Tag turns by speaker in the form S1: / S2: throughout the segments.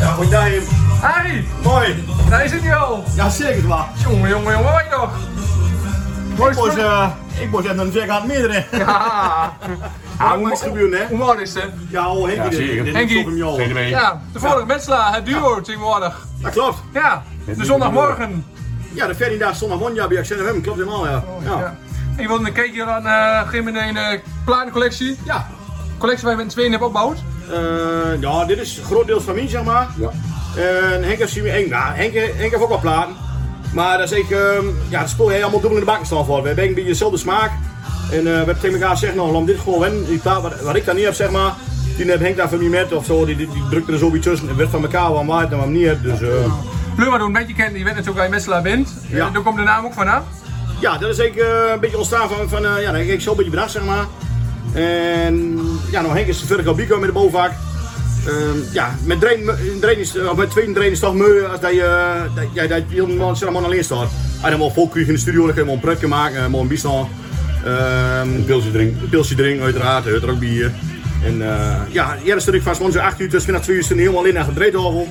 S1: Ja, moet jij hem.
S2: Hey,
S1: Mooi.
S2: daar zit hij al.
S1: Ja, zeker waar.
S2: Jongen, jongen, jongen, waar nog?
S1: Ik was, eh ik was net een zeg aan het middelen.
S2: Ja.
S1: Ja, moet gebeuren, hè?
S2: Ah, Hoe mooi is het?
S1: Ja, oh, Henk, dit, dit is
S2: Henkie.
S1: toch een jongen.
S2: Ja, de vorige Metsla, het duo tegenwoordig.
S1: Dat klopt.
S2: Ja, de zondagmorgen.
S1: Ja, de 14 dagen zondagmorgen, ja, bij Accent FM, klopt helemaal, ja. Ja.
S2: Ja. Ik wilde een keekje aan eh Gimmen een eh, platencollectie.
S1: Ja.
S2: Collectie waar je met z'n tweeën hebt opgebouwd.
S1: Eh, ja, dit is grotendeels van mij, zeg maar. Ja. En Henk heeft, zien we- Henk, nou, Henk, Henk heeft ook wel platen. Maar dat is ik, ehm ja, dat spul je helemaal dubbel in de bakken staan voor. We hebben een beetje dezelfde smaak. En eh, we hebben tegen elkaar gezegd, nou, laat dit gewoon wennen. Die plaat wat, wat ik daar niet heb, zeg maar, die heeft Henk daar van mij met of zo. Die, die, die drukte er zo weer tussen. Het werd van elkaar wel waard en wat niet. Dus, eh,
S2: Luma doet een beetje kennen, die werd natuurlijk bij Metsla wint.
S1: Ja.
S2: En Eh, daar komt de naam ook vanaf.
S1: Ja, dat is ik eh, een beetje ontstaan van, van eh, ja, dan ik zo een beetje bedacht, zeg maar. En ja, nou Henk is de vertical bico met de bovenvak. Ehm, ja, met drain, drain is, eh, of met tweede drain is het toch mooi als dat je, eh, dat, ja, dat je helemaal zeg maar alleen staat. En dan wel vol in de studio, dan kun je wel een pretje maken, eh, mooi een bierstand. Ehm, een pilsje drinken. Een pilsje drinken, uiteraard, er ook bier. En eh, ja, eerst zit ik vast, morgens 8 uur, tussen middag 2 uur, zit helemaal in aan het dreidhovel.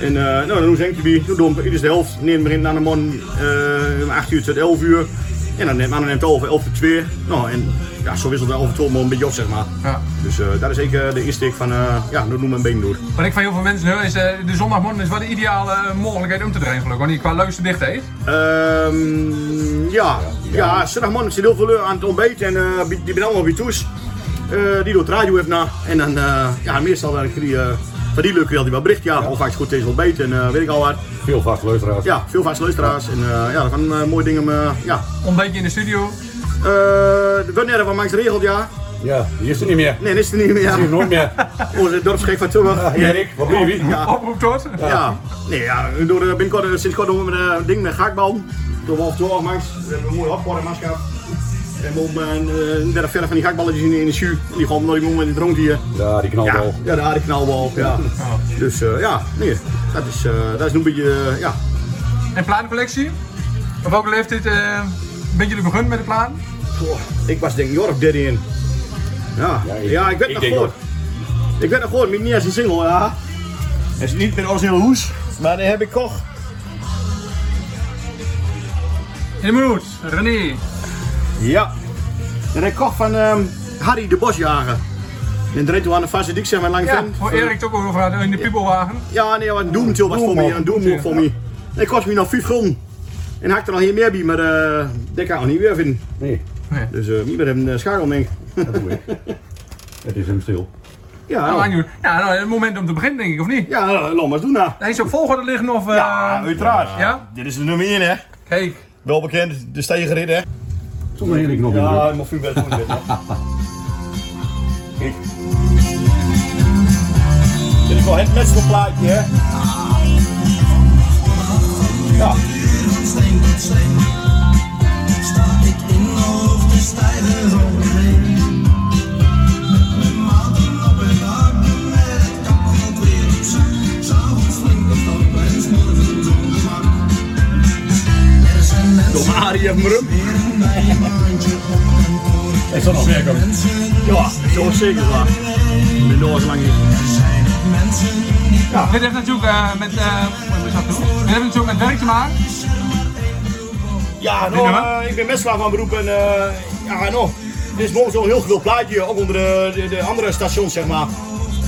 S1: En eh, nou, dan doen ze Henkie bier. Doe het is de helft. Neemt begint aan de man eh, om 8 uur tot 11 uur. En dan neemt, dan neemt over 11 tot 2. Nou, en ja, zo wisselt de over 12 man een beetje op, zeg maar.
S2: Ja.
S1: Dus eh, dat is zeker de insteek van, eh ja, doe mijn been door.
S2: Wat ik van heel veel mensen hoor is, eh, de zondagmorgen is wel de ideale eh, mogelijkheid om te trainen gelukkig. Want die qua luister dicht heeft.
S1: Ehm, ja, ja, zondagmorgen zit heel veel aan het ontbijt en eh, die ben allemaal weer toes. Eh, die doet radio even na. En dan, eh, ja, meestal dan krijg je, eh, van die leuke wel die wel bericht. Ja, of vaak goed tegen ontbijt en eh, weet ik al wat.
S3: Veel vaste luisteraars.
S1: Ja, veel vaste luisteraars. En eh, ja, dat gaan eh, mooie dingen, eh, ja,
S2: Ontbijtje in de studio.
S1: Eh, de wanneer van Max regelt, ja.
S3: Ja, die is er niet meer.
S1: Nee, dat is er niet meer, ja.
S3: Die is er nooit meer.
S1: Onze dorpsgek van Tilburg.
S3: Hier, Rick, wat ben je?
S1: Ja.
S2: Oproep tot.
S1: Ja. Nee, ja, we doen, eh, binnenkort, eh, sinds kort doen we een eh, ding met gaakbal. Door Wolf door, Max. We hebben een mooie opvorm, Max gehad. En we hebben eh, een derde verder van die gaakballetjes in, in de schuur. Die gewoon nooit meer met die dronk hier.
S3: Ja, die knalt
S1: Ja,
S3: al.
S1: ja, de harde knalbal, ja. Dus eh, ja, nee, dat is, eh, dat is een beetje, eh, ja.
S2: En platencollectie. Op welke leeftijd eh ben jullie begonnen met de platen?
S1: Goh, Ik was denk ik Jorp derde in. Ja, ja,
S3: Ja,
S1: ik,
S3: ik-
S1: werd
S3: ik
S1: nog
S3: denk
S1: gehoord. Ik werd nog gehoord, maar niet als een single, ja. Het is niet met originele hoes, maar die heb ik toch.
S2: In de moed, René.
S1: Ja. En ik kocht van ehm, Harry de Bosjager. En dreed toen aan de vaste dik, zeg maar, lang
S2: Ja,
S1: vent.
S2: voor Erik het ook over had, in de pubelwagen.
S1: Ja, nee, een doemtil was voor mij, een doemhoek voor mij. En ik kost me nog 5 gulden. En had ik er nog hier meer bij, maar eh dat kan ik nog niet weer vinden.
S3: Nee,
S1: Dus eh niet met een eh, scharrel, denk ik.
S3: dat doe ik. Het is hem stil.
S1: Ja,
S2: Nou,
S1: nou,
S2: Anjo, Ja, nou, het moment om te beginnen denk ik, of niet?
S1: ja, nou, laat maar eens doen, nou.
S2: Hij is op volgorde liggen of... eh,
S1: Ja, uiteraard.
S2: Ja?
S1: Dit is de nummer 1, hè.
S2: Kijk,
S1: Wel bekend, de steengerit, hè?
S3: Zonder Erik nog in de
S1: Ja,
S3: druk.
S1: ik mocht u best doen. dit, hè. Kijk. Dit is wel het messelplaatje, hè? Ja. Door Arie en Mrum.
S3: Ik zal nog werken.
S1: Ja, dat was zeker waar. Mijn doos lang niet.
S2: dit heeft natuurlijk eh, met... eh, wat is dat nou? Dit heeft natuurlijk met werk te maken.
S1: Ja, nou,
S2: nummer?
S1: eh, ik ben metselaar van beroep en eh, ja, nou, dit is momenteel een heel veel plaatje, ook onder de, de, de andere stations, zeg maar.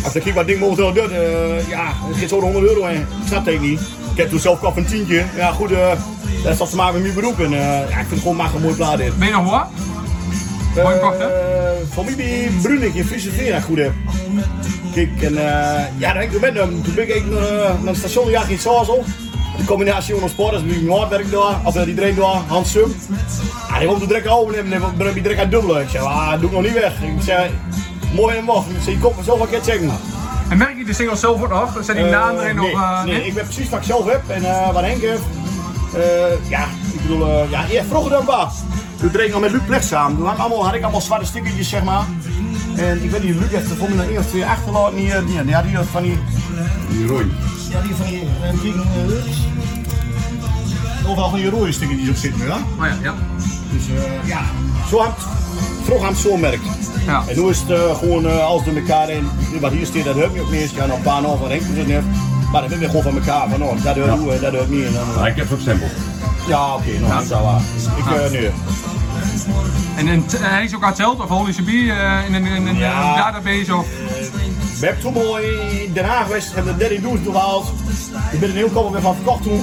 S1: Als ik kijk wat ding momenteel doet, eh, ja, het gaat zo de 100 euro en ik snap het niet. Ik heb toen zelf kap een tientje. Ja, goed, eh, dat heeft wat te maken met mijn beroep en eh, ja, ik vind het gewoon maar een mooi plaat dit.
S2: Ben je nog hoor? Mooi gekocht, hè?
S1: Eh, Familie Brunik in Friese Veer, goed heb. Kijk, en eh, ja, dan ik ben hem. Toen ben ik naar, eh, naar het station gegaan in Sazel. De combinatie van ons sport, dus mijn hardwerk daar, of eh, die train daar, Hans Sum. Ah, die wil de direct overnemen en ben ik direct aan dubbelen. Ik zei, ah, doe ik nog niet weg. Ik zei, mooi en wacht. Ik zei, je komt vanzelf wat keer checken.
S2: En merk je de single zelf ook nog? Zet die naam erin
S1: nee,
S2: of... eh,
S1: nee,
S2: in?
S1: ik weet precies wat ik zelf heb en eh wat Henk heeft. Eh, ja, ik bedoel, eh, ja, ja, vroeger dan was. Toen train ik nog met Luc Plecht samen. Toen had ik allemaal, had ik allemaal zwarte stickertjes, zeg maar. En ik weet niet, Luc heeft er voor me nog één of twee achterlaten hier. Die, die had hier van die...
S3: Die rooi.
S1: Ja, die van die... eh, die eh, overal van die rode stickertjes op zitten, ja.
S2: Oh ja, ja.
S1: Dus eh, ja, zo had vroeger had het zo merk.
S2: Ja.
S1: En nu is het eh, gewoon eh, alles door elkaar in. Wat hier staat, dat heb je ook niet eens. Ja, nog een paar nog van Henk gezet heeft. Maar dat hebben we gewoon van elkaar. Van, oh, dat hoort hoe, dat hoort niet. En dan,
S3: Ah, ik heb het simpel.
S1: ja, oké, nou, dat is wel waar. Ik, eh, nee.
S2: En, en, t- en hij is ook aan het telt of holy bier eh, in een in een,
S1: Ja.
S2: eh, database of...
S1: We hebben toen mooi in Den Haag geweest, hebben de derde doos gehaald. Ik ben een heel koppel weer van verkocht toen.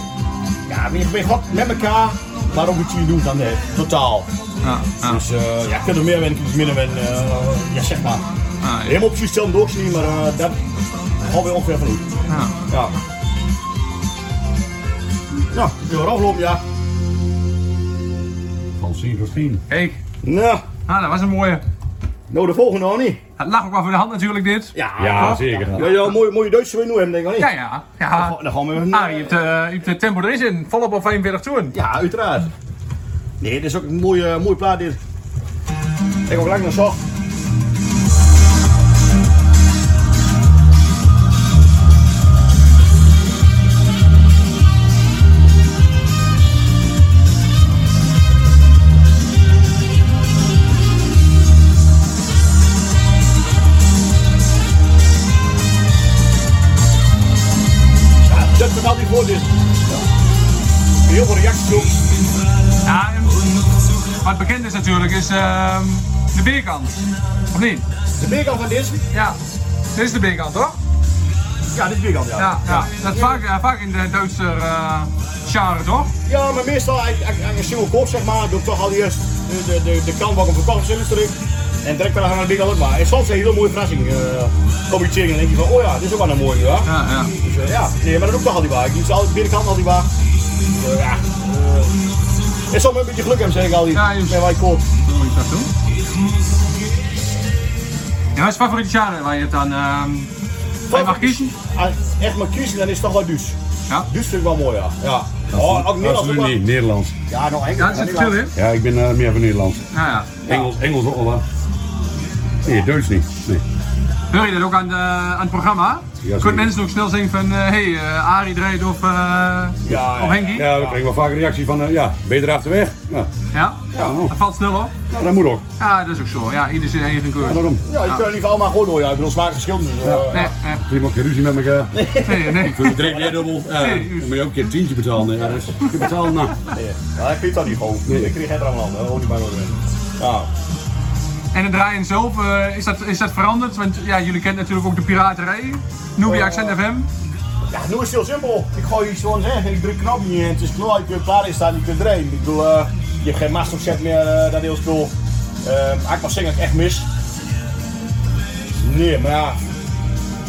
S1: Ja, we zijn wat met elkaar. Maar ook het je doen dan nee, totaal.
S2: Ja, ja.
S1: Dus eh, ja, ik kan er meer winnen, iets minder winnen. eh, ja, zeg maar.
S2: Ah, ja.
S1: Helemaal precies hetzelfde ook niet, maar eh, dat gaan we ongeveer van doen.
S2: ja.
S1: Ja. Nou, ik wil aflopen, ja.
S3: Van Silverstein.
S2: Kijk,
S1: Nou,
S2: ah, dat was een mooie.
S1: nou de volgende nog niet.
S2: Het lag ook wel voor de hand natuurlijk dit.
S1: Ja,
S3: Ja, zeker.
S1: Ja, ja, mooie, mooie Duitse win nu hem, denk ik wel
S2: Ja,
S1: niet. Oh,
S2: ja. ja.
S1: Dan gaan we een-
S2: Ah, je hebt, eh, je hebt het tempo er is in. Volop op 45 toen.
S1: Ja, uiteraard. Nee, dit is ook een mooie, mooie plaat dit. Ik heb ook lang naar zocht. Ja, dat verhaal die voor dit. Heel veel reacties ook.
S2: Ja, en wat bekend is natuurlijk is ehm, de beerkant. Of niet?
S1: De binnenkant van dit?
S2: Ja. Dit is de beerkant, toch?
S1: Ja, dit is binnenkant, ja.
S2: Ja, ja. Dat is vaak, eh, vaak in de Duitse eh, genre, toch?
S1: Ja, maar meestal als ik een single koop, zeg maar, doe ik toch al eerst de, de, de, de kant waar ik hem verkocht heb, terug. En direct weer gaan naar de binnenkant ook maar. En soms een hele mooie verrassing. eh kom je tegen en denk je van, oh ja, dit is ook wel een mooie, ja.
S2: Ja, ja.
S1: Dus, eh, ja, nee, maar dat doe ik toch altijd waar. Ik doe ze altijd de binnenkant altijd waar. Dus, eh, ja, eh, en soms een beetje geluk hebben, zeg ik altijd.
S2: Ja, juist.
S1: Met wat ik koop.
S2: Moet ik dat doen? Ja, wat is je favoriete genre waar je het dan ehm, bij mag kiezen?
S1: Als ik echt maar kiezen, dan is het toch wel duus.
S2: Ja.
S1: Dus vind ik wel mooi, ja. ja. Oh, ook Nederlands ook
S3: Absoluut
S1: wel.
S3: niet. Nederlands.
S1: Ja, nog Engels.
S2: Ja, er zit
S1: Nederlands.
S2: veel in.
S3: Ja, ik ben eh, meer van Nederlands.
S2: Ja, ja.
S3: Engels, Engels ook al wel. Nee, Duits niet. Nee.
S2: Hoor je dat ook aan, de, aan het programma?
S3: zeker.
S2: Kunnen mensen ook snel zeggen van, eh, hey, eh, Arie draait of, eh,
S1: ja,
S2: of Henkie?
S3: Ja, we krijgen wel vaak een reactie van, eh, ja, ben je erachter weg? Ja,
S2: Ja?
S3: Ja, nou.
S2: Dat valt snel op.
S3: nou, dat moet ook.
S2: Ja, dat is ook zo. Ja, ieder zijn eigen
S3: Ja,
S2: keur.
S3: daarom.
S1: Ja, je kunt er niet allemaal goed door, ja. Ik bedoel, smaak verschillend. Dus, eh,
S2: Nee, nee,
S3: Prima, geen ruzie met eh, elkaar.
S2: nee, nee.
S3: Voor de drink weer dubbel. Ja, dan moet je ook een keer een tientje betalen. Ja, dus je betaalt nou.
S1: Ja, ik vind dat niet gewoon.
S3: Nee.
S1: Ik kreeg het er allemaal aan, hoor niet bang voor zijn. Ja.
S2: En het draaien zelf, eh, is, dat, is dat veranderd? Want ja, jullie kennen natuurlijk ook de piraterij. Noobie Accent FM.
S1: ja, nu is het heel simpel. Ik gooi iets gewoon zeggen en ik druk een knopje in. Het is klaar, je kunt klaar in staan, je kunt draaien. Ik bedoel, eh, je hebt geen masterset meer, eh dat heel spul. Uh, ik mag zingen, dat ik echt mis. Nee, maar ja.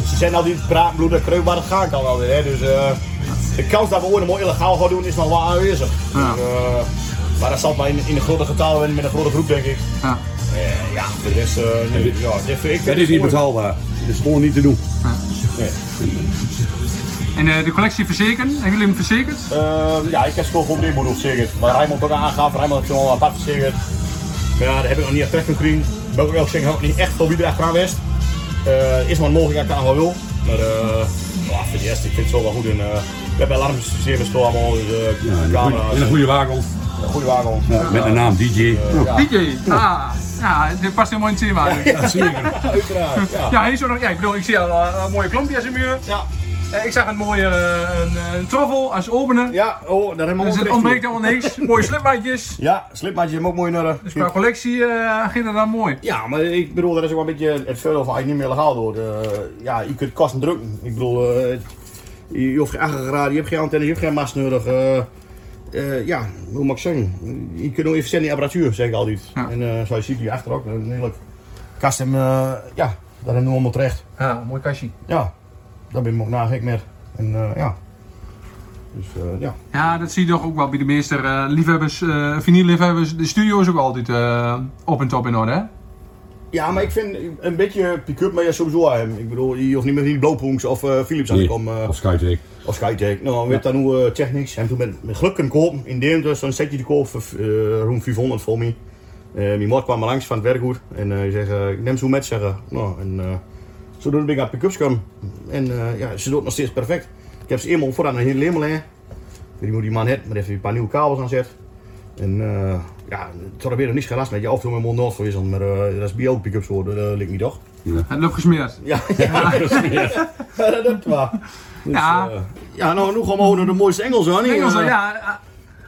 S1: Ze zijn al die praatbloeden, kreuk, maar dat ga ik al wel weer. Hè. Dus eh, de kans dat we ooit nog wel illegaal gaan doen is nog wel aanwezig.
S2: Ja.
S1: Dus, eh, maar dat zal maar in, in een grote getal en met een grote groep, denk ik.
S2: Ja.
S1: Eh, ja, voor de rest, eh, nee, ja, dit vind ik-
S3: Dat is niet betaalbaar. Dat is gewoon niet te doen.
S1: Nee.
S2: En eh, de collectie verzekeren. Hebben jullie hem verzekerd?
S1: Ehm, ja, ik heb school voor dit moeder verzekerd. Maar Rijmond ook aangaf, Rijmond heeft gewoon apart verzekerd. Maar ja, daar heb ik nog niet echt terecht gekregen. Ik ben ook wel zeggen, ook niet echt voor wie er achteraan wist. Eh, is maar een mogelijkheid dat ik aan wil. Maar eh, ja, voor de rest, ik vind het zo wel goed. En, eh, we hebben alarmsystemen allemaal, dus eh,
S3: Ja, in een goede-
S1: camera's,
S3: in een goede wagen.
S1: een goede wagen.
S3: Ja, met de naam DJ. Ja,
S2: DJ. Ah, ja, dit past helemaal in het thema.
S3: ja, zeker.
S1: Uiteraard, ja.
S2: Ja, hier zo nog. Ja, ik bedoel, ik zie al eh, een mooie klompje als een muur.
S1: Ja,
S2: Eh, ik zag een mooie eh, een, eh, een troffel als opener.
S1: ja oh, daar hebben we
S2: Dus
S1: ook
S2: het
S1: een
S2: ontbreekt
S1: richting.
S2: allemaal niks. mooie slipmaatjes.
S1: Ja, slipmaatjes hebben ook mooi naar
S2: Dus qua collectie eh ging dat dan mooi.
S1: Ja, maar ik bedoel, dat is ook wel een beetje het voordeel van als je niet meer legaal door. ja, je kunt kosten drukken. Ik bedoel, eh, je, je hoeft geen aggregaten, je hebt geen antennes, je hebt geen mast nodig. eh, eh, ja, hoe mag ik zeggen? Je kunt ook even zenden in apparatuur, zeg ik altijd.
S2: Ja.
S1: En eh, zoals je ziet hier achter ook, een hele kast hem, eh, ja, Dat hebben we allemaal terecht.
S2: Ja, mooi kastje.
S1: Ja, daar ben ik ook nagek met. En eh, ja. Dus eh, ja.
S2: Ja, dat zie je toch ook wel bij de meeste eh, liefhebbers, eh vinylliefhebbers. De studio is ook altijd eh, op en top in orde, hè?
S1: Ja, maar ik vind een beetje pick-up, maar ja, sowieso AM. Ik bedoel, je hoeft niet meer in Bloopunks of eh, Philips aan te
S3: Nee,
S1: komen. eh,
S3: of Skytech.
S1: of Skytech. Nou, weet dan hoe eh, technisch. En toen met, met geluk kunnen kopen in dus, Deventer. Zo'n setje te koop voor eh ruim 500 voor mij. Eh, mijn moeder kwam maar langs van het werkgoed. En eh ik zeg, eh, ik neem zo met zeggen. Nou, en eh zodoende ben ik aan pick-ups gekomen. En eh, ja, ze doet het nog steeds perfect. Ik heb ze eenmaal vooraan een hele lemel heen. Ik weet niet hoe die man het, maar daar heeft hij een paar nieuwe kabels aan zet. En eh, ja, het had er weer nog niets gelast met je af en toe met mond noord voor is, maar eh, dat is bij elk pick-up zo, dat eh, lijkt me toch.
S2: Het loopt gesmeerd.
S1: Ja, ja, dat is meer. Ja, dat is waar. Dus,
S2: Ja.
S1: eh, ja, nou, nu gaan we naar de mooiste Engels, hoor. niet?
S2: Engels,
S1: Eh,
S2: ja. eh,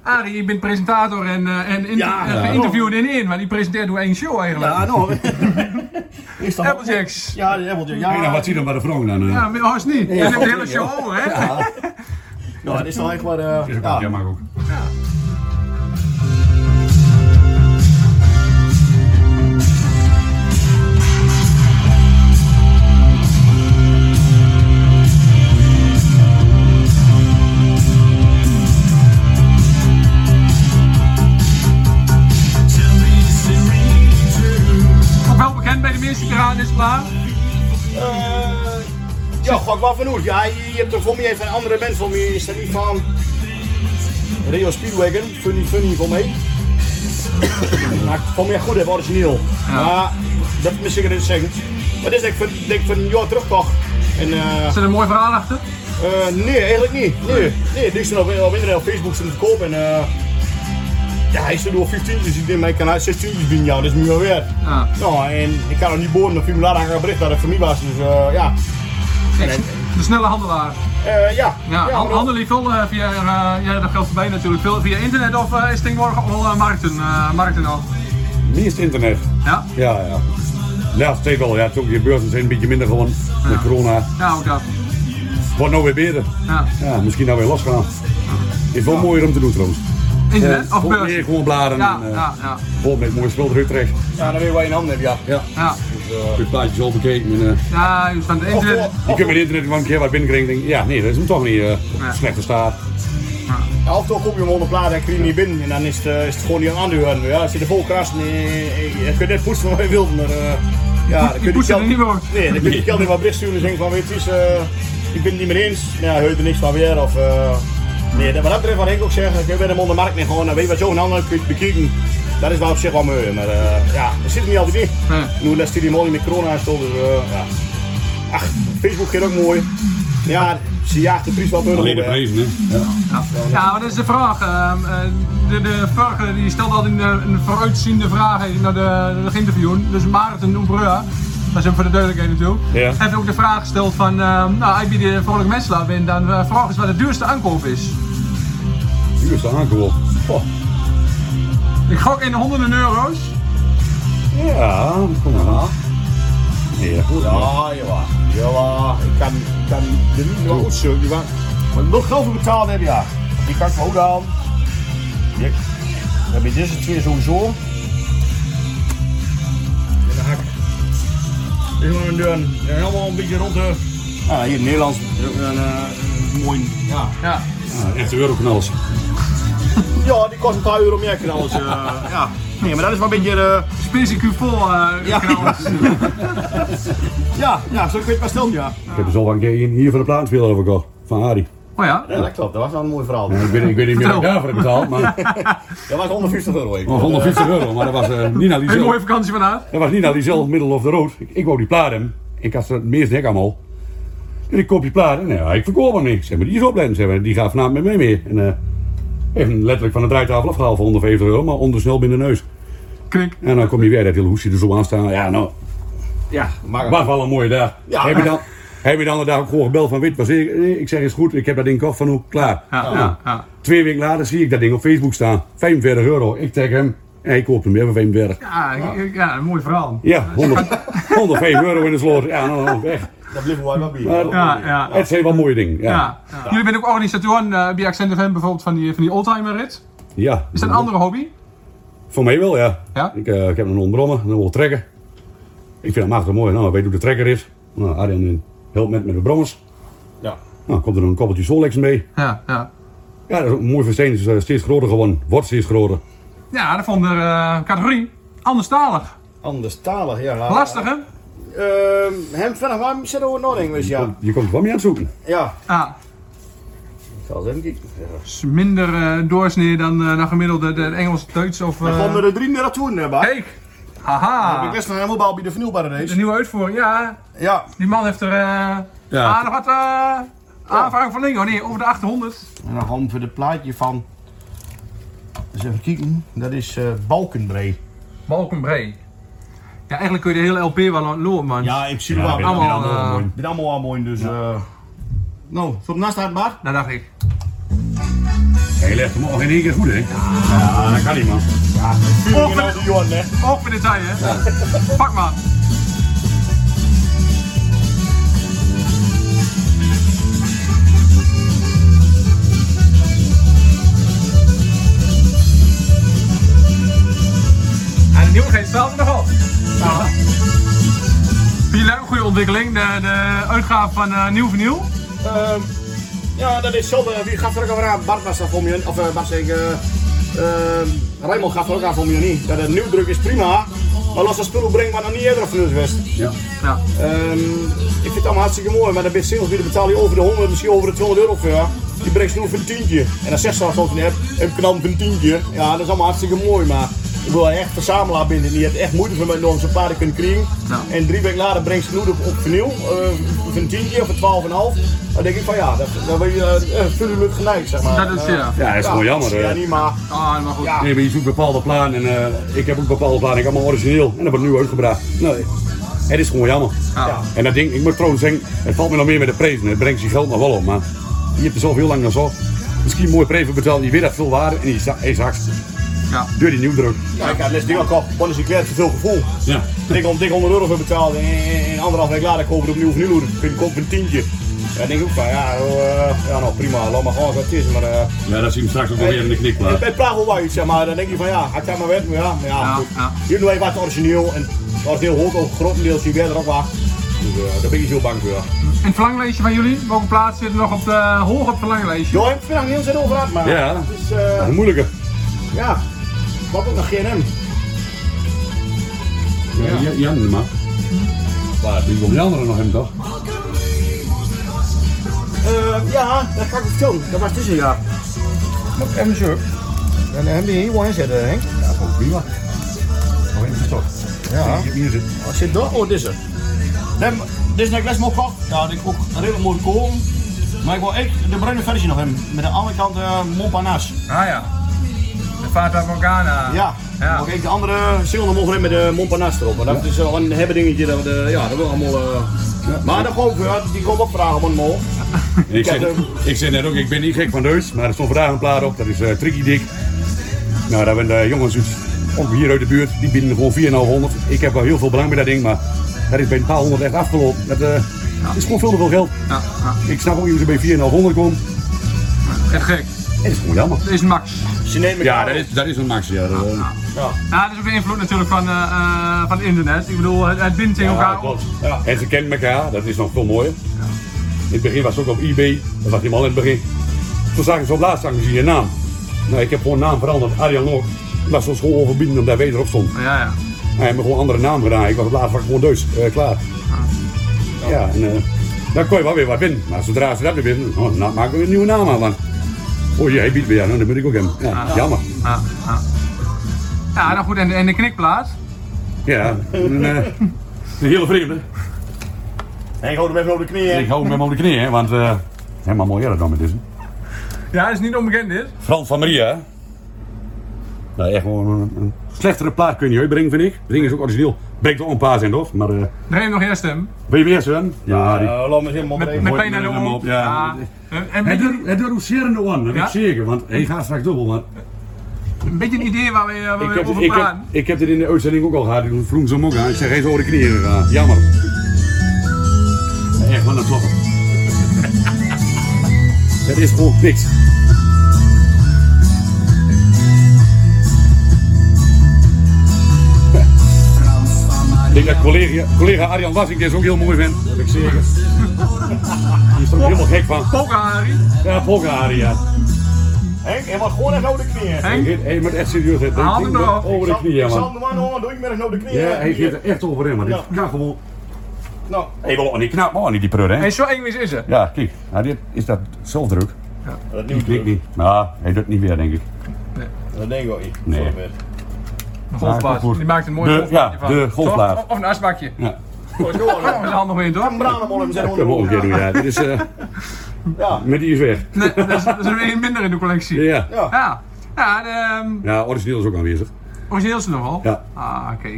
S2: Arie, je bent presentator en, eh, en, in,
S1: Ja,
S2: en
S1: ja.
S2: geïnterviewd in één, want die presenteert door één show eigenlijk.
S1: Ja, nou. eh, is dat
S2: Applejacks.
S1: Ja, de Applejack.
S3: Hey,
S1: Ja,
S3: nou, wat zie je dan bij de vrouw dan? eh?
S2: Ja, maar haast niet. Je hebt de hele show over, hè?
S1: nou, dat is toch echt wat... eh,
S3: Is ook
S1: ja.
S3: wel jammer ook.
S2: Ook wel bekend bij de meeste piraten is klaar.
S1: Eh, ja, gok wat van hoed. Ja, je, je hebt er voor mij even een andere band voor mij. Is dat niet van... Rio Speedwagon, Funny Funny voor mij. maar voor mij goed, hè, origineel. Maar, dat moet ik er eens zeggen. Maar dit is denk ik van, denk ik van een jaar terug, toch? En, eh,
S2: Zit er een mooi verhaal achter?
S1: Eh, nee, eigenlijk niet. Nee, nee die is er op, op internet, op Facebook zijn te koop. En, eh, ja, hij is er door 15, dus ik denk, maar ik kan uit 16 binnen jou, dat is niet meer weer.
S2: Ja.
S1: Nou, en ik kan nog niet boren of iemand aan gaan bericht dat het voor mij was, dus eh, ja.
S2: De snelle handelaar.
S1: Eh, ja.
S2: Ja,
S1: maar
S2: han-
S1: dat-
S2: handel je veel eh, via, eh, ja dat geldt voor mij natuurlijk, veel via internet of eh, is tegenwoordig al eh, markten, eh, markten al?
S3: Wie is het internet?
S2: Ja?
S3: Ja, ja. Ja, steeds wel. Ja, het is ook, je beurzen zijn een beetje minder geworden met corona.
S2: Ja, ook dat.
S3: Wordt nou weer beter.
S2: Ja.
S3: Ja, misschien nou weer losgaan. Is wel mooier om te doen trouwens.
S2: Internet of
S3: Gewoon meer
S2: beurs?
S3: gewoon bladeren.
S2: Ja,
S3: en, eh,
S2: ja, ja.
S3: Vol met mooie spul terug terecht.
S1: Ja, dan weet je wat je in handen hebt, ja.
S3: Ja.
S2: Ja,
S3: Ik heb plaatjes al bekeken. En, eh,
S2: ja dus van het
S1: Of,
S2: internet.
S1: of-
S3: je kunt met internet wel een keer wat binnenkrijgen. en denk, ja, nee, dat is hem toch niet. eh,
S2: Nee.
S3: Slechte staat.
S1: ja, of toch kom je hem onder plaat en krijg je hem niet binnen. En dan is het, eh, is het gewoon niet aan de hand. Ja, er zitten vol krassen. eh, eh, Je kunt net poetsen wat je wilt, maar... eh, ja, dan kun
S2: poetsen
S1: geld-
S2: er niet meer op.
S1: Nee, dan kun je geld in wat bericht sturen en zeggen van, weet je, het is, eh, ik ben het niet meer eens. Nou Ja, hoort er niks van weer of... eh, nee, dat- wat dat betreft wat ik ook zeg, ik ben hem onder de markt en gewoon, dan weet je wat zo'n ander kunt bekijken. Dat is wel op zich wel mooi, maar eh, ja, dat zit er niet altijd in.
S2: Nee.
S1: Nu les die mooi met corona en zo, dus eh, ja. Ach, Facebook gaat ook mooi. Ja, ze jaagt de prijs wel door.
S3: Alleen de prijzen, hè. Ja.
S2: Ja, maar dat is de vraag. ehm, eh, de, de vraag die stelt altijd een, eh, een vooruitziende vraag naar de, de geïnterview. Dus Maarten Oembrua, dat is hem voor de duidelijkheid natuurlijk,
S3: Ja.
S2: heeft ook de vraag gesteld van, ehm, nou, als je de vrolijke mensen bent, dan eh, vraag eens wat de duurste aankoop is.
S3: Hier is de aankoop. Oh,
S2: Ik gok in honderden euro's.
S3: ja, kom maar. Nee, dat goed. maar.
S1: Ja, jawel. Jawel. Ik kan, ik kan de liefde wel goed zoeken. Maar wat nog geld voor betaald hebben, ja. Die kan ik ook aan. Ja. Dan heb je deze twee sowieso. En dan hak. Dit is maar een deur. En helemaal een beetje rond de... Ah, hier Nederlands. Een, eh, mooi. Ja.
S2: Ja.
S3: Ja, Echte euroknallers.
S1: ja, die kost een paar euro meer knallen. eh ja. Nee, maar dat is wel een beetje... eh,
S2: Spinzie Cufol eh
S1: Ja.
S2: knallers.
S1: ja, ja, zo kun je het maar stellen, ja.
S3: Ik heb er zo wel een keer een hier van de plaatspeler over gehad. Van Harry.
S2: Oh ja.
S1: Ja, dat klopt. Dat was wel een mooi verhaal.
S3: Ik weet, ik weet niet meer wat ik
S2: Vertel.
S3: daarvoor heb betaald, maar
S1: Dat was 150 euro. Ik.
S2: Oh.
S3: maar 150 euro. Maar dat was eh, niet naar die
S2: Een mooie
S3: zelf.
S2: vakantie van haar.
S3: Dat was niet naar die zelf, middel of de rood. Ik, ik wou die plaat hebben. Ik had ze het meest hek allemaal. En ik koop die plaat. En ja, ik verkoop hem niet. Ik Zeg maar, die is opletten. Zeg maar, die gaat vanavond met mij mee. En eh heeft hem letterlijk van de draaitafel afgehaald voor 150 euro. Maar ondersnel binnen de neus.
S2: Klink.
S3: En dan kom je weer dat hele hoesje er zo aan staan. Ja, nou,
S1: Ja,
S2: Ah,
S1: maar...
S3: was wel een mooie dag.
S1: Ja.
S3: Heb je dan... Heb je dan de dag ook gewoon gebeld van wit was ik? Nee, Ik zeg is goed, ik heb dat ding gekocht van hoe klaar.
S2: Ja, ja, ja.
S3: Twee weken later zie ik dat ding op Facebook staan. 45 euro. Ik tag hem. En hij koopt hem weer voor 45.
S2: Ja, ik- ja, een mooi verhaal.
S3: Ja, 100, 105 euro in de sloot. Ja, nou, nou, weg.
S1: Dat blijft wel wat bij.
S3: Maar-
S2: Ja, ja.
S3: Het zijn wel mooie dingen. Ja.
S2: Ja. Jullie bent ook organisator eh, bij Accent FM bijvoorbeeld van die, van die oldtimer rit.
S3: ja.
S2: Is dat een andere hobby?
S3: Voor mij wel, ja.
S2: Ja?
S3: Ik, eh, ik heb een ontbrommen, een wil trekken. Ik vind hem achter mooi. Nou, weet hoe de trekker is. Nou, Arjen helpt met met de brommers.
S4: Ja.
S3: Nou, komt er een koppeltje Solex mee.
S2: Ja, ja.
S3: Ja, dat is ook mooi voor Steen. Is eh, steeds groter geworden. Wordt steeds groter.
S2: Ja, dat vond de eh, categorie anderstalig.
S1: Anderstalig, ja.
S2: Lastig, hè?
S1: Ehm, hem vanaf waar zit over Noord-Engels, ja.
S3: Je komt er wel mee aan het zoeken.
S1: Ja,
S2: Ja,
S1: ik zal eens even kijken.
S2: is minder eh, doorsnee dan, eh, dan gemiddelde de Engelse Duits of... eh,
S1: Dan gaan we er drie meer naartoe hebben. hè.
S2: Kijk! Haha!
S1: Ik wist nog helemaal bij de vernieuwbare
S2: De
S1: race.
S2: nieuwe uitvoering, ja.
S1: Ja,
S2: Die man heeft er eh
S4: Ja.
S2: aardig wat eh aanvaring van Lingo. Oh, Nee, over de 800.
S1: en dan gaan we voor het plaatje van. Eens even kijken, dat is eh Balkenbree.
S2: Balkenbree. Ja, eigenlijk kun je de hele LP wel lopen, man.
S1: Ja, ik zie
S3: Ja,
S1: wel.
S3: ik
S1: Ik
S3: ben er
S2: allemaal,
S3: allemaal
S2: eh,
S3: mooi.
S1: ben allemaal aan mooi, dus. eh, nou, zo naast haar maar.
S2: Dat dacht ik.
S3: Ja, je legt hem al in één keer goed, hè? Ja, dat kan niet, man.
S2: Oog voor,
S1: Johan, hè?
S2: oog voor detail, hè. Pak maar. En de nieuwigheid staat er nog op. Vind je leuk? Goede ontwikkeling. De, de uitgave van eh, Nieuw Vernieuw.
S1: Ehm, ja, dat is zo. eh, Wie gaat er ook over aan? Bart was dat voor mij. Of eh, Bart zeg ik. eh, ehm, Raymond gaat er ook aan voor mij niet. Dat een nieuwdruk is prima. Maar als dat spul brengt, maar nog niet eerder van het west.
S2: Ja.
S1: Ehm, ik vind het allemaal hartstikke mooi, maar dan ben je singles die dan betaal je over de 100, misschien over de 200 euro voor ja. Die brengt ze nu voor een tientje. En dan zegt ze als een heb, heb ik knal voor een tientje. Ja, dat is allemaal hartstikke mooi, maar ik wil echt verzamelaar binnen. Die heeft echt moeite voor mij nog een paarden kunnen krijgen.
S2: Ja.
S1: En drie weken later brengt ze nu op, op vernieuw, eh, voor een tientje of voor 12,5. Dan denk ik van ja, dat, dat ben je eh vullend geneigd, zeg maar.
S2: Dat is,
S1: Eh,
S2: ja.
S3: Ja, dat is gewoon jammer.
S1: Ja,
S3: eh.
S1: niet, maar
S2: Ah, maar goed.
S1: Ja.
S3: Nee, maar je zoekt bepaalde plannen en eh, ik heb ook bepaalde plannen. Ik heb allemaal origineel en dat wordt nu uitgebracht. Nee, het is gewoon jammer.
S2: Ja.
S3: En dat ding, ik moet trouwens zeggen, het valt me nog meer met de prijzen. Het brengt zijn geld nog wel op, maar je hebt er zelf heel lang naar zo. Misschien een mooie prijzen betaald, je weet dat veel waarde en die za- hij zakt.
S2: Ja.
S3: Door die nieuwdruk.
S1: ja, ik had les dingen al want is ik werd te veel gevoel.
S3: Ja.
S1: dik, om, dik 100 euro voor betaald en, en, en anderhalf week later kopen we het opnieuw of nieuw. Ik koop een tientje. Ja, dan denk ik ook van ja, eh, ja nou prima, laat maar gewoon wat het is. Maar, eh,
S3: ja, dat zien we straks ook wel weer in de
S1: het,
S3: knikplaat.
S1: het praat wel wat iets, zeg maar dan denk je van ja, ik ga maar weg. Maar ja, maar ja,
S2: Ja,
S1: goed.
S2: ja.
S1: Hier doen wij wat origineel en het origineel hoort ook grotendeels hier verder op wacht. Dus eh, daar ben ik niet zo bang voor.
S2: En het verlanglijstje van jullie? Welke plaats zit er nog op de, hoog op het verlanglijstje?
S1: Jo, ik vind het heel zin over gehad, maar
S3: Ja.
S1: het is eh,
S3: Dat is moeilijker.
S1: ja, wat ook nog GNM.
S3: Ja, ja. Jan, maar. Maar die komt die andere nog hem toch?
S1: Eh, ja, dat ga ik vertellen, dat was tussen jaar. Moet ik even zo. En dan heb je hier gewoon inzetten, Henk.
S3: Oh, prima. Oh, even stop.
S1: Ja.
S3: Je hebt hier zitten.
S1: Als je door, oh, dit is er. Dit dit is net best mooi kocht. Ja, die ook redelijk mooi komen. Maar ik wil echt de bruine versie nog hebben. Met de andere kant eh Montparnasse.
S2: Ah ja. De Fata Morgana.
S1: Ja.
S2: Ja.
S1: Mag ik de andere single nog mogen hebben met de Montparnasse erop. Maar dat is wel een hebben dingetje. Dat, we de- ja, dat wil allemaal... eh, Maar dan gewoon, ja, eh, die komen ook vragen van mol.
S3: Ik
S1: Ja,
S3: zei, ik zei net ook, ik ben niet gek van Deus, maar er stond vandaag een plaat op, dat is eh Tricky Dick. Nou, daar zijn de jongens uit, ook hier uit de buurt, die bieden gewoon 4,500. Ik heb wel heel veel belang bij dat ding, maar dat is bij een paar honderd echt afgelopen. Dat eh, is gewoon veel te veel geld.
S2: Ja, ja.
S3: Ik snap ook niet hoe ze bij 4,500 komt.
S2: Geen gek.
S3: Het is gewoon jammer.
S2: Dit is Max.
S1: Ze nemen elkaar op.
S3: Ja, dat is, dat is een max. Ja, dat, eh,
S2: Ja, dat is ook de invloed natuurlijk van, eh, eh, van het internet. Ik bedoel, het, het bindt tegen
S3: ja,
S2: elkaar op.
S3: klopt. En ze kennen elkaar, dat is nog veel mooier. In het begin was het ook op eBay, dat was helemaal in het begin. Toen zag ik zo op laatst zag ik je naam. Nou, ik heb gewoon naam veranderd, Arjan ook. Ik was ons gewoon onverbieden omdat wij erop stond.
S2: Ja, ja.
S3: Hij heeft me gewoon een andere naam gedaan. Ik was op laatst was ik gewoon Deus, eh, klaar. Ja, en eh, dan kon je wel weer wat winnen. Maar zodra ze dat weer winnen, oh, dan maken we weer een nieuwe naam aan. Want, oh jij biedt weer, nou, dan moet ik ook hem. Ja, Jammer.
S2: Ja, ja. ja nou goed, en, en de knikplaats?
S3: Ja, en, eh, het is een hele vreemde.
S1: Henk, houd hem even op de
S3: Ik
S1: knieën.
S3: hou hem helemaal op de knieën, hè, want eh helemaal mooi dat dan met deze.
S2: Ja, dat is niet onbekend dit.
S3: Frans van Maria. Nou, echt gewoon een, een slechtere plaat kun je niet uitbrengen, vind ik. Het ding is ook origineel. Breekt ook een paar zijn, toch? Maar eh
S2: Dreef nog eerst hem.
S3: wil je meer, Sven? Ja, die...
S1: Eh, laat me eens helemaal
S2: Met,
S1: breken.
S2: met
S3: mooi,
S2: pijn aan de
S3: met hem
S2: oom.
S3: op, ja.
S2: En, en
S3: Het,
S2: een,
S3: doet- het doet one, dat weet
S2: Ja?
S3: ik zeker. Want hij gaat straks dubbel, maar...
S2: beetje een idee waar we, eh, waar we
S3: Ik heb,
S2: over
S3: ik, heb,
S2: praten.
S3: ik heb dit in de uitzending ook al gehad. Toen vroeg ze hem ook aan. Ik zeg, hij is over de knieën gegaan. Jammer. Ja, Echt, wat een klopper. Dat is gewoon niks. Ik denk dat collega, collega Arjan Wassink deze ook heel mooi vindt.
S1: Dat heb ik zeker.
S3: eh, Die is er ook helemaal gek van.
S2: Poker, Harry.
S3: Ja, volgen Arie, ja.
S1: Henk, en wat gewoon echt nou de knieën.
S3: Hij
S2: Henk,
S3: geeft hij moet echt serieus het.
S2: Haal hem nou.
S3: over de
S1: Zal-
S3: knieën,
S1: ik zal
S3: man.
S1: hem maar nog, doe ik met nou de knieën.
S3: Ja, hij geeft er echt over in, man. Dit
S1: Ja.
S3: kan gewoon...
S1: Nou,
S3: Hé, wel, niet knap, man, niet die prut, hè.
S2: en zo eng is het.
S3: Ja, kijk. Nou, dit is dat zelfdruk.
S1: dat
S3: Die
S1: nieuws
S3: klikt niet. Nou, hij doet het niet weer, denk ik.
S1: Dat denk ik ook niet.
S3: Nee.
S1: Sorry, man.
S2: Een
S3: Ja,
S2: golfplaat.
S3: goed.
S2: Die maakt een mooie
S3: De-
S2: golfplaatje
S3: ja,
S2: van.
S3: de golfplaat.
S2: Toch? Of een asbakje.
S3: Ja.
S1: Goed, doe maar.
S2: Oh, is er handig mee, toch?
S1: Een branenmolen zijn
S3: Kunnen we ook een keer
S1: onder.
S3: doen, ja. Dit is... eh,
S1: Ja.
S3: met die is weg.
S2: Nee, dat is, dat is er één minder in de collectie.
S3: Ja.
S1: Ja.
S2: Ja, ja de, ehm,
S3: Ja, origineel is ook aanwezig.
S2: origineel is er nog wel.
S3: Ja.
S2: Ah, oké.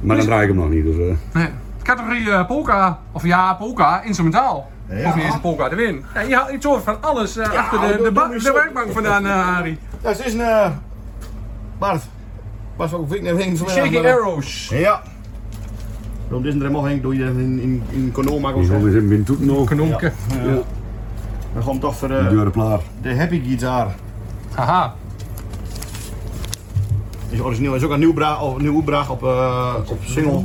S3: Maar dan draai ik hem nog niet, dus... eh.
S2: Nee. Categorie eh, polka, of ja, polka, instrumentaal. Of niet eens een polka, de win. Ja, je haalt iets over van alles eh, achter de,
S1: doe-
S2: de,
S1: doe
S2: ba-
S1: nu
S2: de
S1: zo.
S2: werkbank vandaan, eh Harry.
S1: Ja, het is een... eh Bart. Bart, ook ik naar Henk vanmiddag.
S2: Shaky
S1: maar-
S2: Arrows.
S1: Ja. Waarom dit is er helemaal Henk? Doe je dat in, in, in condoom maken
S3: Die
S1: of
S3: is wel
S1: zo?
S3: weer in toeten nog.
S2: Knonken.
S3: Ja.
S1: Dan gaan we toch voor
S3: De
S1: eh,
S3: deuren klaar.
S1: de Happy Guitar.
S2: Haha.
S1: Is origineel is ook een nieuw bra of nieuw opbraag op, eh, op single.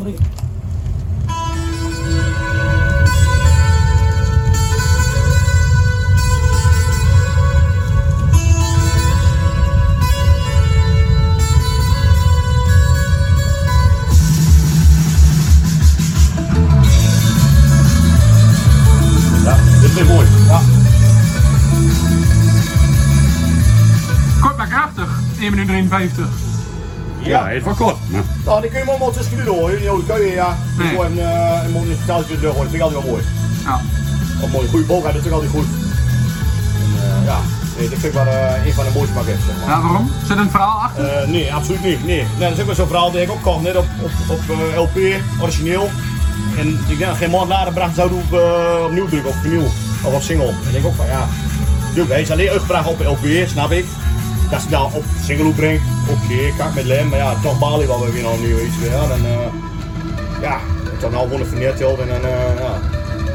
S3: Ja, dit is weer mooi. Ja.
S2: Kort maar krachtig. 1 minuut 53.
S3: Ja, hij is wel kort. maar-
S1: Nou, die kun je maar wel tussen nu hoor. Die oude kun je, ja.
S2: Nee.
S1: Dus gewoon een, eh, een monumentaaltje deur hoor. Dat vind ik altijd wel mooi.
S2: Ja.
S1: Of mooi, goede boog dat is ook altijd goed. En, eh, ja, nee, dat vind ik wel eh, een van de mooiste pakketten. Zeg maar.
S2: Ja, waarom? Zit een verhaal achter?
S1: Eh, nee, absoluut niet. Nee. nee, dat is ook wel zo'n verhaal dat ik ook kocht, net op, op, op eh, LP, origineel. En ik denk dat geen maand later bracht zou op eh, opnieuw drukken, of opnieuw, of op single. En ik denk ook van ja, duw, hij is alleen uitgebracht op LP, snap ik. Dat ze dat op single brengt, oké, kak met lem, maar ja, toch baal je wel weer naar opnieuw iets weer. En eh, ja, het nou dan al wonnen van Neertelt en dan, eh,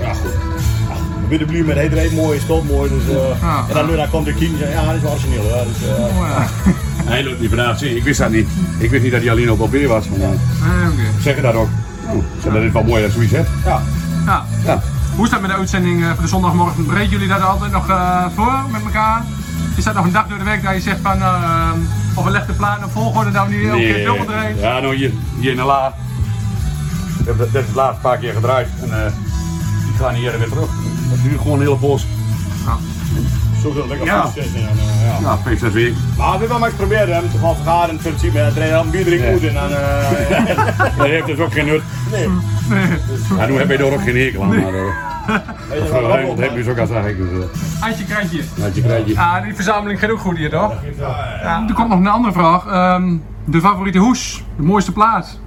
S1: ja, ja goed. Ja, Witte Bluur met iedereen mooi, is toch mooi. Dus, eh,
S2: Ja.
S1: en dan, nu, dan komt de King, ja, dat is wel origineel. Ja, dus, eh,
S2: Oh, Ja.
S3: Hij loopt niet vandaag. Zie, ik wist dat niet. Ik wist niet dat hij alleen op Albeer was. Maar
S2: Eh, oké.
S3: zeggen dat ook. Oh, zeg, dat is wel mooi dat je zoiets hebt.
S1: ja.
S2: Ja.
S3: Ja.
S2: Hoe is dat met de uitzending eh, voor de zondagmorgen? Breed jullie dat altijd nog eh, voor met elkaar? Is dat nog een dag door de week dat je zegt van, eh, of we leggen de plannen op volgorde dat we nu elke keer dubbel draaien?
S3: Ja, nou hier, hier in de la. Ik heb dat, dat is laatst een paar keer gedraaid. En eh die gaan hier weer terug. Dat duurt gewoon een hele poos.
S1: Zo dat lekker
S3: Ja.
S1: ja. en, eh, ja.
S3: Ja, vijf, zes weken.
S1: Maar we hebben maar eens proberen hem te gaan vergaren in het principe. Hij trainen een bier drinken moet en dan... eh, ja.
S3: Dat heeft dus ook geen nut.
S1: nee.
S3: Ja, nu heb je er ook geen hekel aan. Maar eh,
S1: Weet je
S3: mevrouw
S1: wel,
S3: Rijnmond heeft dus ook als eigenlijk. Dus, eh,
S2: Handje, krantje.
S3: dat je krijgt je.
S2: Ja, die verzameling gaat ook goed hier, toch?
S1: Ja,
S2: Ja. Er komt nog een andere vraag. Ehm, de favoriete hoes, de mooiste plaat.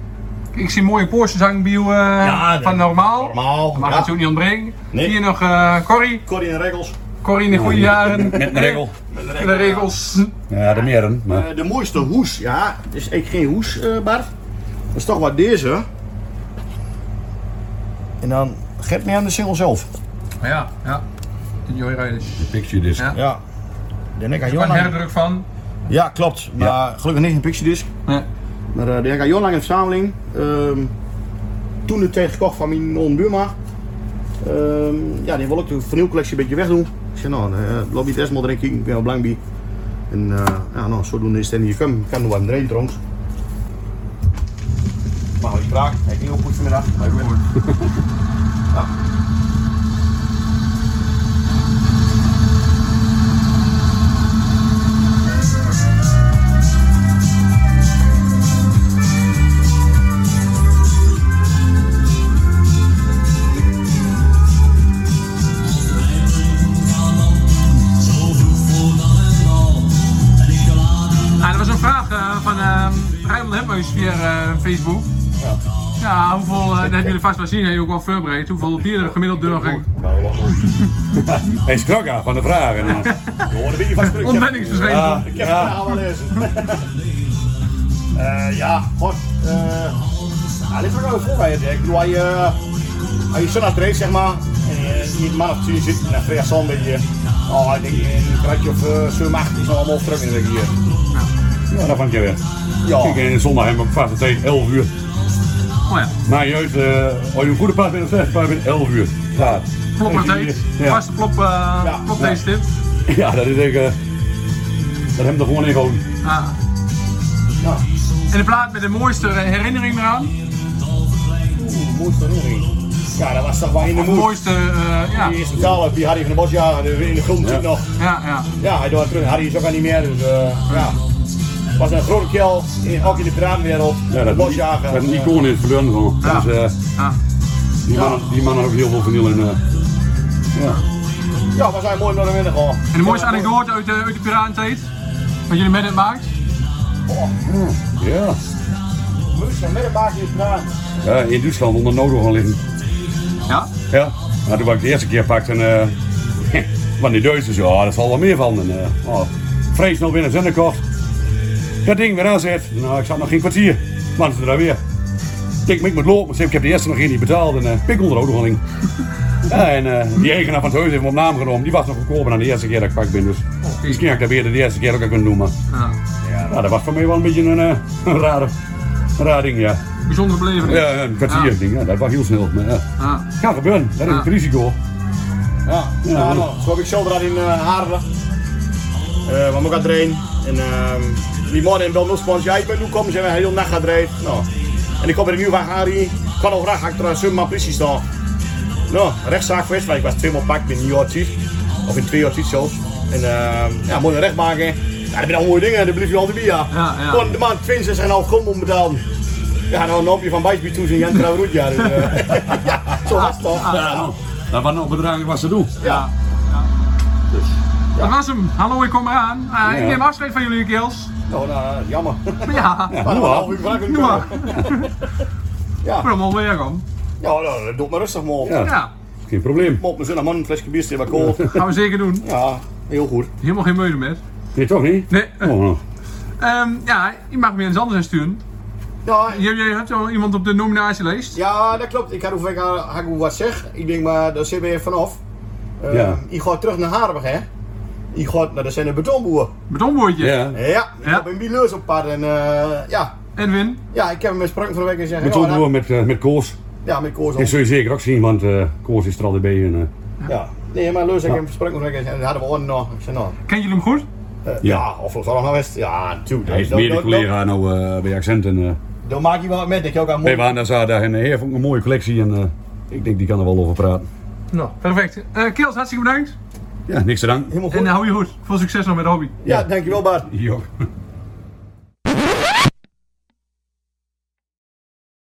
S2: Ik zie mooie Porsche zangbiel eh
S1: nee.
S2: van normaal.
S1: Normaal,
S2: Maar
S1: ja.
S2: dat is ook niet ontbreken.
S1: Nee.
S2: Hier nog eh Corrie.
S1: Corrie en Regels.
S2: Corrie in de goede jaren.
S3: Met een regel.
S2: De regels.
S3: Ja, de meren. Maar
S1: Eh, de mooiste hoes, ja. Het is echt geen hoes, eh Bart. Dat is toch wat deze. En dan geef mij aan de single zelf.
S2: Ja, ja. De Joy Riders.
S3: picture disc.
S2: Ja.
S1: Ja. Denk ik aan
S2: Er was
S1: Johan
S2: een
S1: Lange.
S2: herdruk van.
S1: Ja, klopt. Maar gelukkig niet een Pixiedisc.
S2: Nee.
S1: Maar eh, die heb ik aan heel lang in de verzameling. Ehm, toen het tegen gekocht van mijn non Buma. Ehm, ja, die wil ik de vernieuwcollectie een beetje wegdoen. Ik zei, nou, eh lobby het eerst maar erin kijken. Ik ben al belangrijk bij. En eh, ja, nou, zodoende is het. En je kan, je kan nog wat erin trouwens. Maar ik praat. Ik niet opgoed vanmiddag. Maar ik ben-
S2: Ah, er was een vraag eh, van ehm Rijnmond Hemmeus via eh, Facebook. Ja. hoeveel, eh, dat hebben jullie vast wel zien, heb je ook wel voorbereid. Hoeveel bieren gemiddeld doorgaan?
S1: Nou, wacht hoor.
S3: Hij is krok aan van de vragen.
S1: Je hoort een beetje van spruk.
S2: Ontwenningsverschijnsel.
S3: Ja,
S1: Ik heb het
S3: ja.
S1: verhaal wel eens. Eh, ja, god. eh ja, dit is ook wel voor mij. Ik bedoel, als je, eh, als je zo naar het race, zeg maar, en je niet man of tien zit en dan vreeg zo'n beetje, oh, ik denk een kratje of eh 7, 8 is nog allemaal terug in de week hier.
S3: Ja, dat vond je weer. eh,
S1: Ja.
S3: Ik in zondag hebben we vast tot 11 uur.
S2: Oh ja,
S3: Maar juist, eh als je een goede plaat bent, dan zeg je bent 11 uur. Klaar.
S2: plopper
S3: Even
S2: date.
S3: hier. Ja.
S2: Vaste plop, eh
S1: Ja,
S2: plop
S3: ja.
S2: deze tip.
S3: ja, dat is echt. eh, dat hebben we er gewoon in gehouden.
S2: Ah. En de plaat met de mooiste herinnering eraan.
S1: Mooiste herinnering. Ja, dat was toch wel in de
S2: De
S1: moed.
S2: mooiste, eh, ja.
S1: Die eerste taal, die Harry van de Bos, ja, de- in de gulden zit nog.
S2: Ja, ja.
S1: Ja, hij doet terug. Harry is ook al niet meer, dus eh, ja. Was een grote kerel, in, ook in de piratenwereld.
S3: Ja,
S1: de
S3: dat,
S1: bosjager.
S3: dat een
S1: eh,
S3: icoon is verloren gewoon.
S2: Ja.
S3: Dus, eh,
S2: ja.
S3: die, man, die man had ook heel veel verniel in. eh, ja.
S1: Ja, was hij mooi naar de winnen gewoon.
S2: En de mooiste anekdote uit de, uit de Piratenteet. Wat jullie met het maakt.
S3: ja.
S1: Moest van middenbaas in de piraten.
S3: Ja, in Duitsland onder nodig gaan liggen.
S2: Ja.
S3: Ja. Nou, toen ik de eerste keer pakte, en, eh, want die Duitsers, ja, dat valt wel meer van. En, eh, oh, vrees nog binnen zender kocht. Dat ding weer aanzet. Nou, ik zat nog geen kwartier. Man, ze er weer. Ik denk, maar ik moet lopen. Ik zeg, ik heb de eerste nog hier niet betaald. En eh pik onder de auto Ja, en eh, die eigenaar van het huis heeft hem op naam genomen. Die was nog goedkoper dan de eerste keer dat ik pak ben. Dus misschien had ik dat weer de eerste keer ook al kunnen doen. Maar
S2: ja.
S3: ja, dat was voor mij wel een beetje een, eh, een, rare, een raar ding, ja.
S2: Bijzonder belevenis.
S3: Ja, een kwartier ding. Ja, dat was heel snel. Maar, ja.
S2: Ja.
S3: Kan gebeuren, dat is
S2: Ja.
S3: het risico.
S1: Ja, ja, nou, zo heb ik zelf in eh Haarlem. Eh maar ook aan het rijden. En ehm, die man in Belmoespons, ja, ik ben nu komen, zijn we heel nacht gaan rijden. Nou. En ik kom bij de nieuw van Harry, kan al graag achter een summa politie staan. Nou, rechtszaak geweest, want ik was tweemaal pak in een jaar tijd. Of in twee jaar tijd zelfs. En ehm ja, mooi recht maken. Ja, dat zijn al mooie dingen, dat blijf je altijd bij. Ja,
S2: Ja, ja.
S1: Gewoon de maand 62,5 gulden moet betalen. Ja, nou, dan hoop je van Bijsbiet toe zijn Jan Trouwroet, ja. Dus, eh, zo was het toch.
S3: Dat was Nou, nog bedragen was te doen.
S1: Ja.
S2: Dat was hem. Hallo, ik kom eraan. Eh, Ik neem afscheid van jullie, Kils.
S1: Nou, nou, jammer.
S2: Ja.
S3: Ja,
S1: Maar
S3: nou,
S1: dan
S3: ah.
S1: half uur vragen we
S2: Doe maar.
S1: Ja.
S2: Ik ben hem weer om.
S1: Ja, nou, dat doet maar rustig, man. Ja.
S3: Ja.
S2: Ja.
S3: Geen probleem.
S1: Mop, mijn zin aan man, een flesje bier, steek kool.
S2: Gaan we zeker doen.
S1: Ja, heel goed.
S2: Helemaal geen moeite met.
S3: Nee, toch niet?
S2: Nee.
S3: Oh, nou.
S2: Ehm, ja, je mag weer eens anders insturen.
S1: Ja,
S2: Je, je hebt al iemand op de nominatielijst.
S1: ja, dat klopt. Ik had hoeveel ik aan had ik wat zeg. Ik denk maar, daar zit weer vanaf. Eh,
S3: Ja.
S1: Ik ga terug naar Harberg, hè. Ik ga naar de zijn betonboer.
S2: Betonboordje.
S3: Ja.
S1: Ja, ik
S2: Ja.
S1: heb een bileurs op pad en eh, ja.
S2: Edwin.
S1: ja, ik heb hem met sprang van de week en zeg
S3: Met
S1: ja,
S3: Tom met, eh, met Koos.
S1: ja, met koers
S3: Dat
S1: op.
S3: zul je zeker ook zien, want eh, Koos is er al bij. En, eh,
S1: Ja. Nee, maar Leus, ik heb hem met sprang van de week en zei, dat hadden we ook nog. Ik zei, nou,
S2: Ken jullie hem goed?
S1: eh,
S3: Ja.
S1: ja, of we allemaal best. Ja, natuurlijk.
S3: hij is
S1: Dat-
S3: mede
S1: dat-
S3: collega nou, eh, bij Accent. En, eh,
S1: dat- Dat maak je wel met, dat je ook aan
S3: nee,
S1: moet.
S3: maar daar zat daar een heer van een mooie collectie en eh, ik denk die kan er wel over praten.
S2: Nou, perfect. Eh Kils, hartstikke bedankt.
S3: Ja, niks te danken.
S1: Helemaal
S2: En eh,
S1: goed.
S2: hou je goed. Veel succes nog met de hobby.
S1: Ja, dankjewel Bart.
S3: Hier ook.